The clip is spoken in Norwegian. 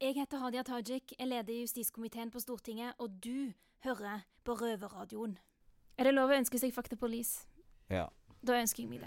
Jeg heter Hadia Tajik, jeg leder justiskomiteen på Stortinget, og du hører på Røverradioen. Er det lov å ønske seg fakta på lis? Ja. Da ønsker jeg meg det.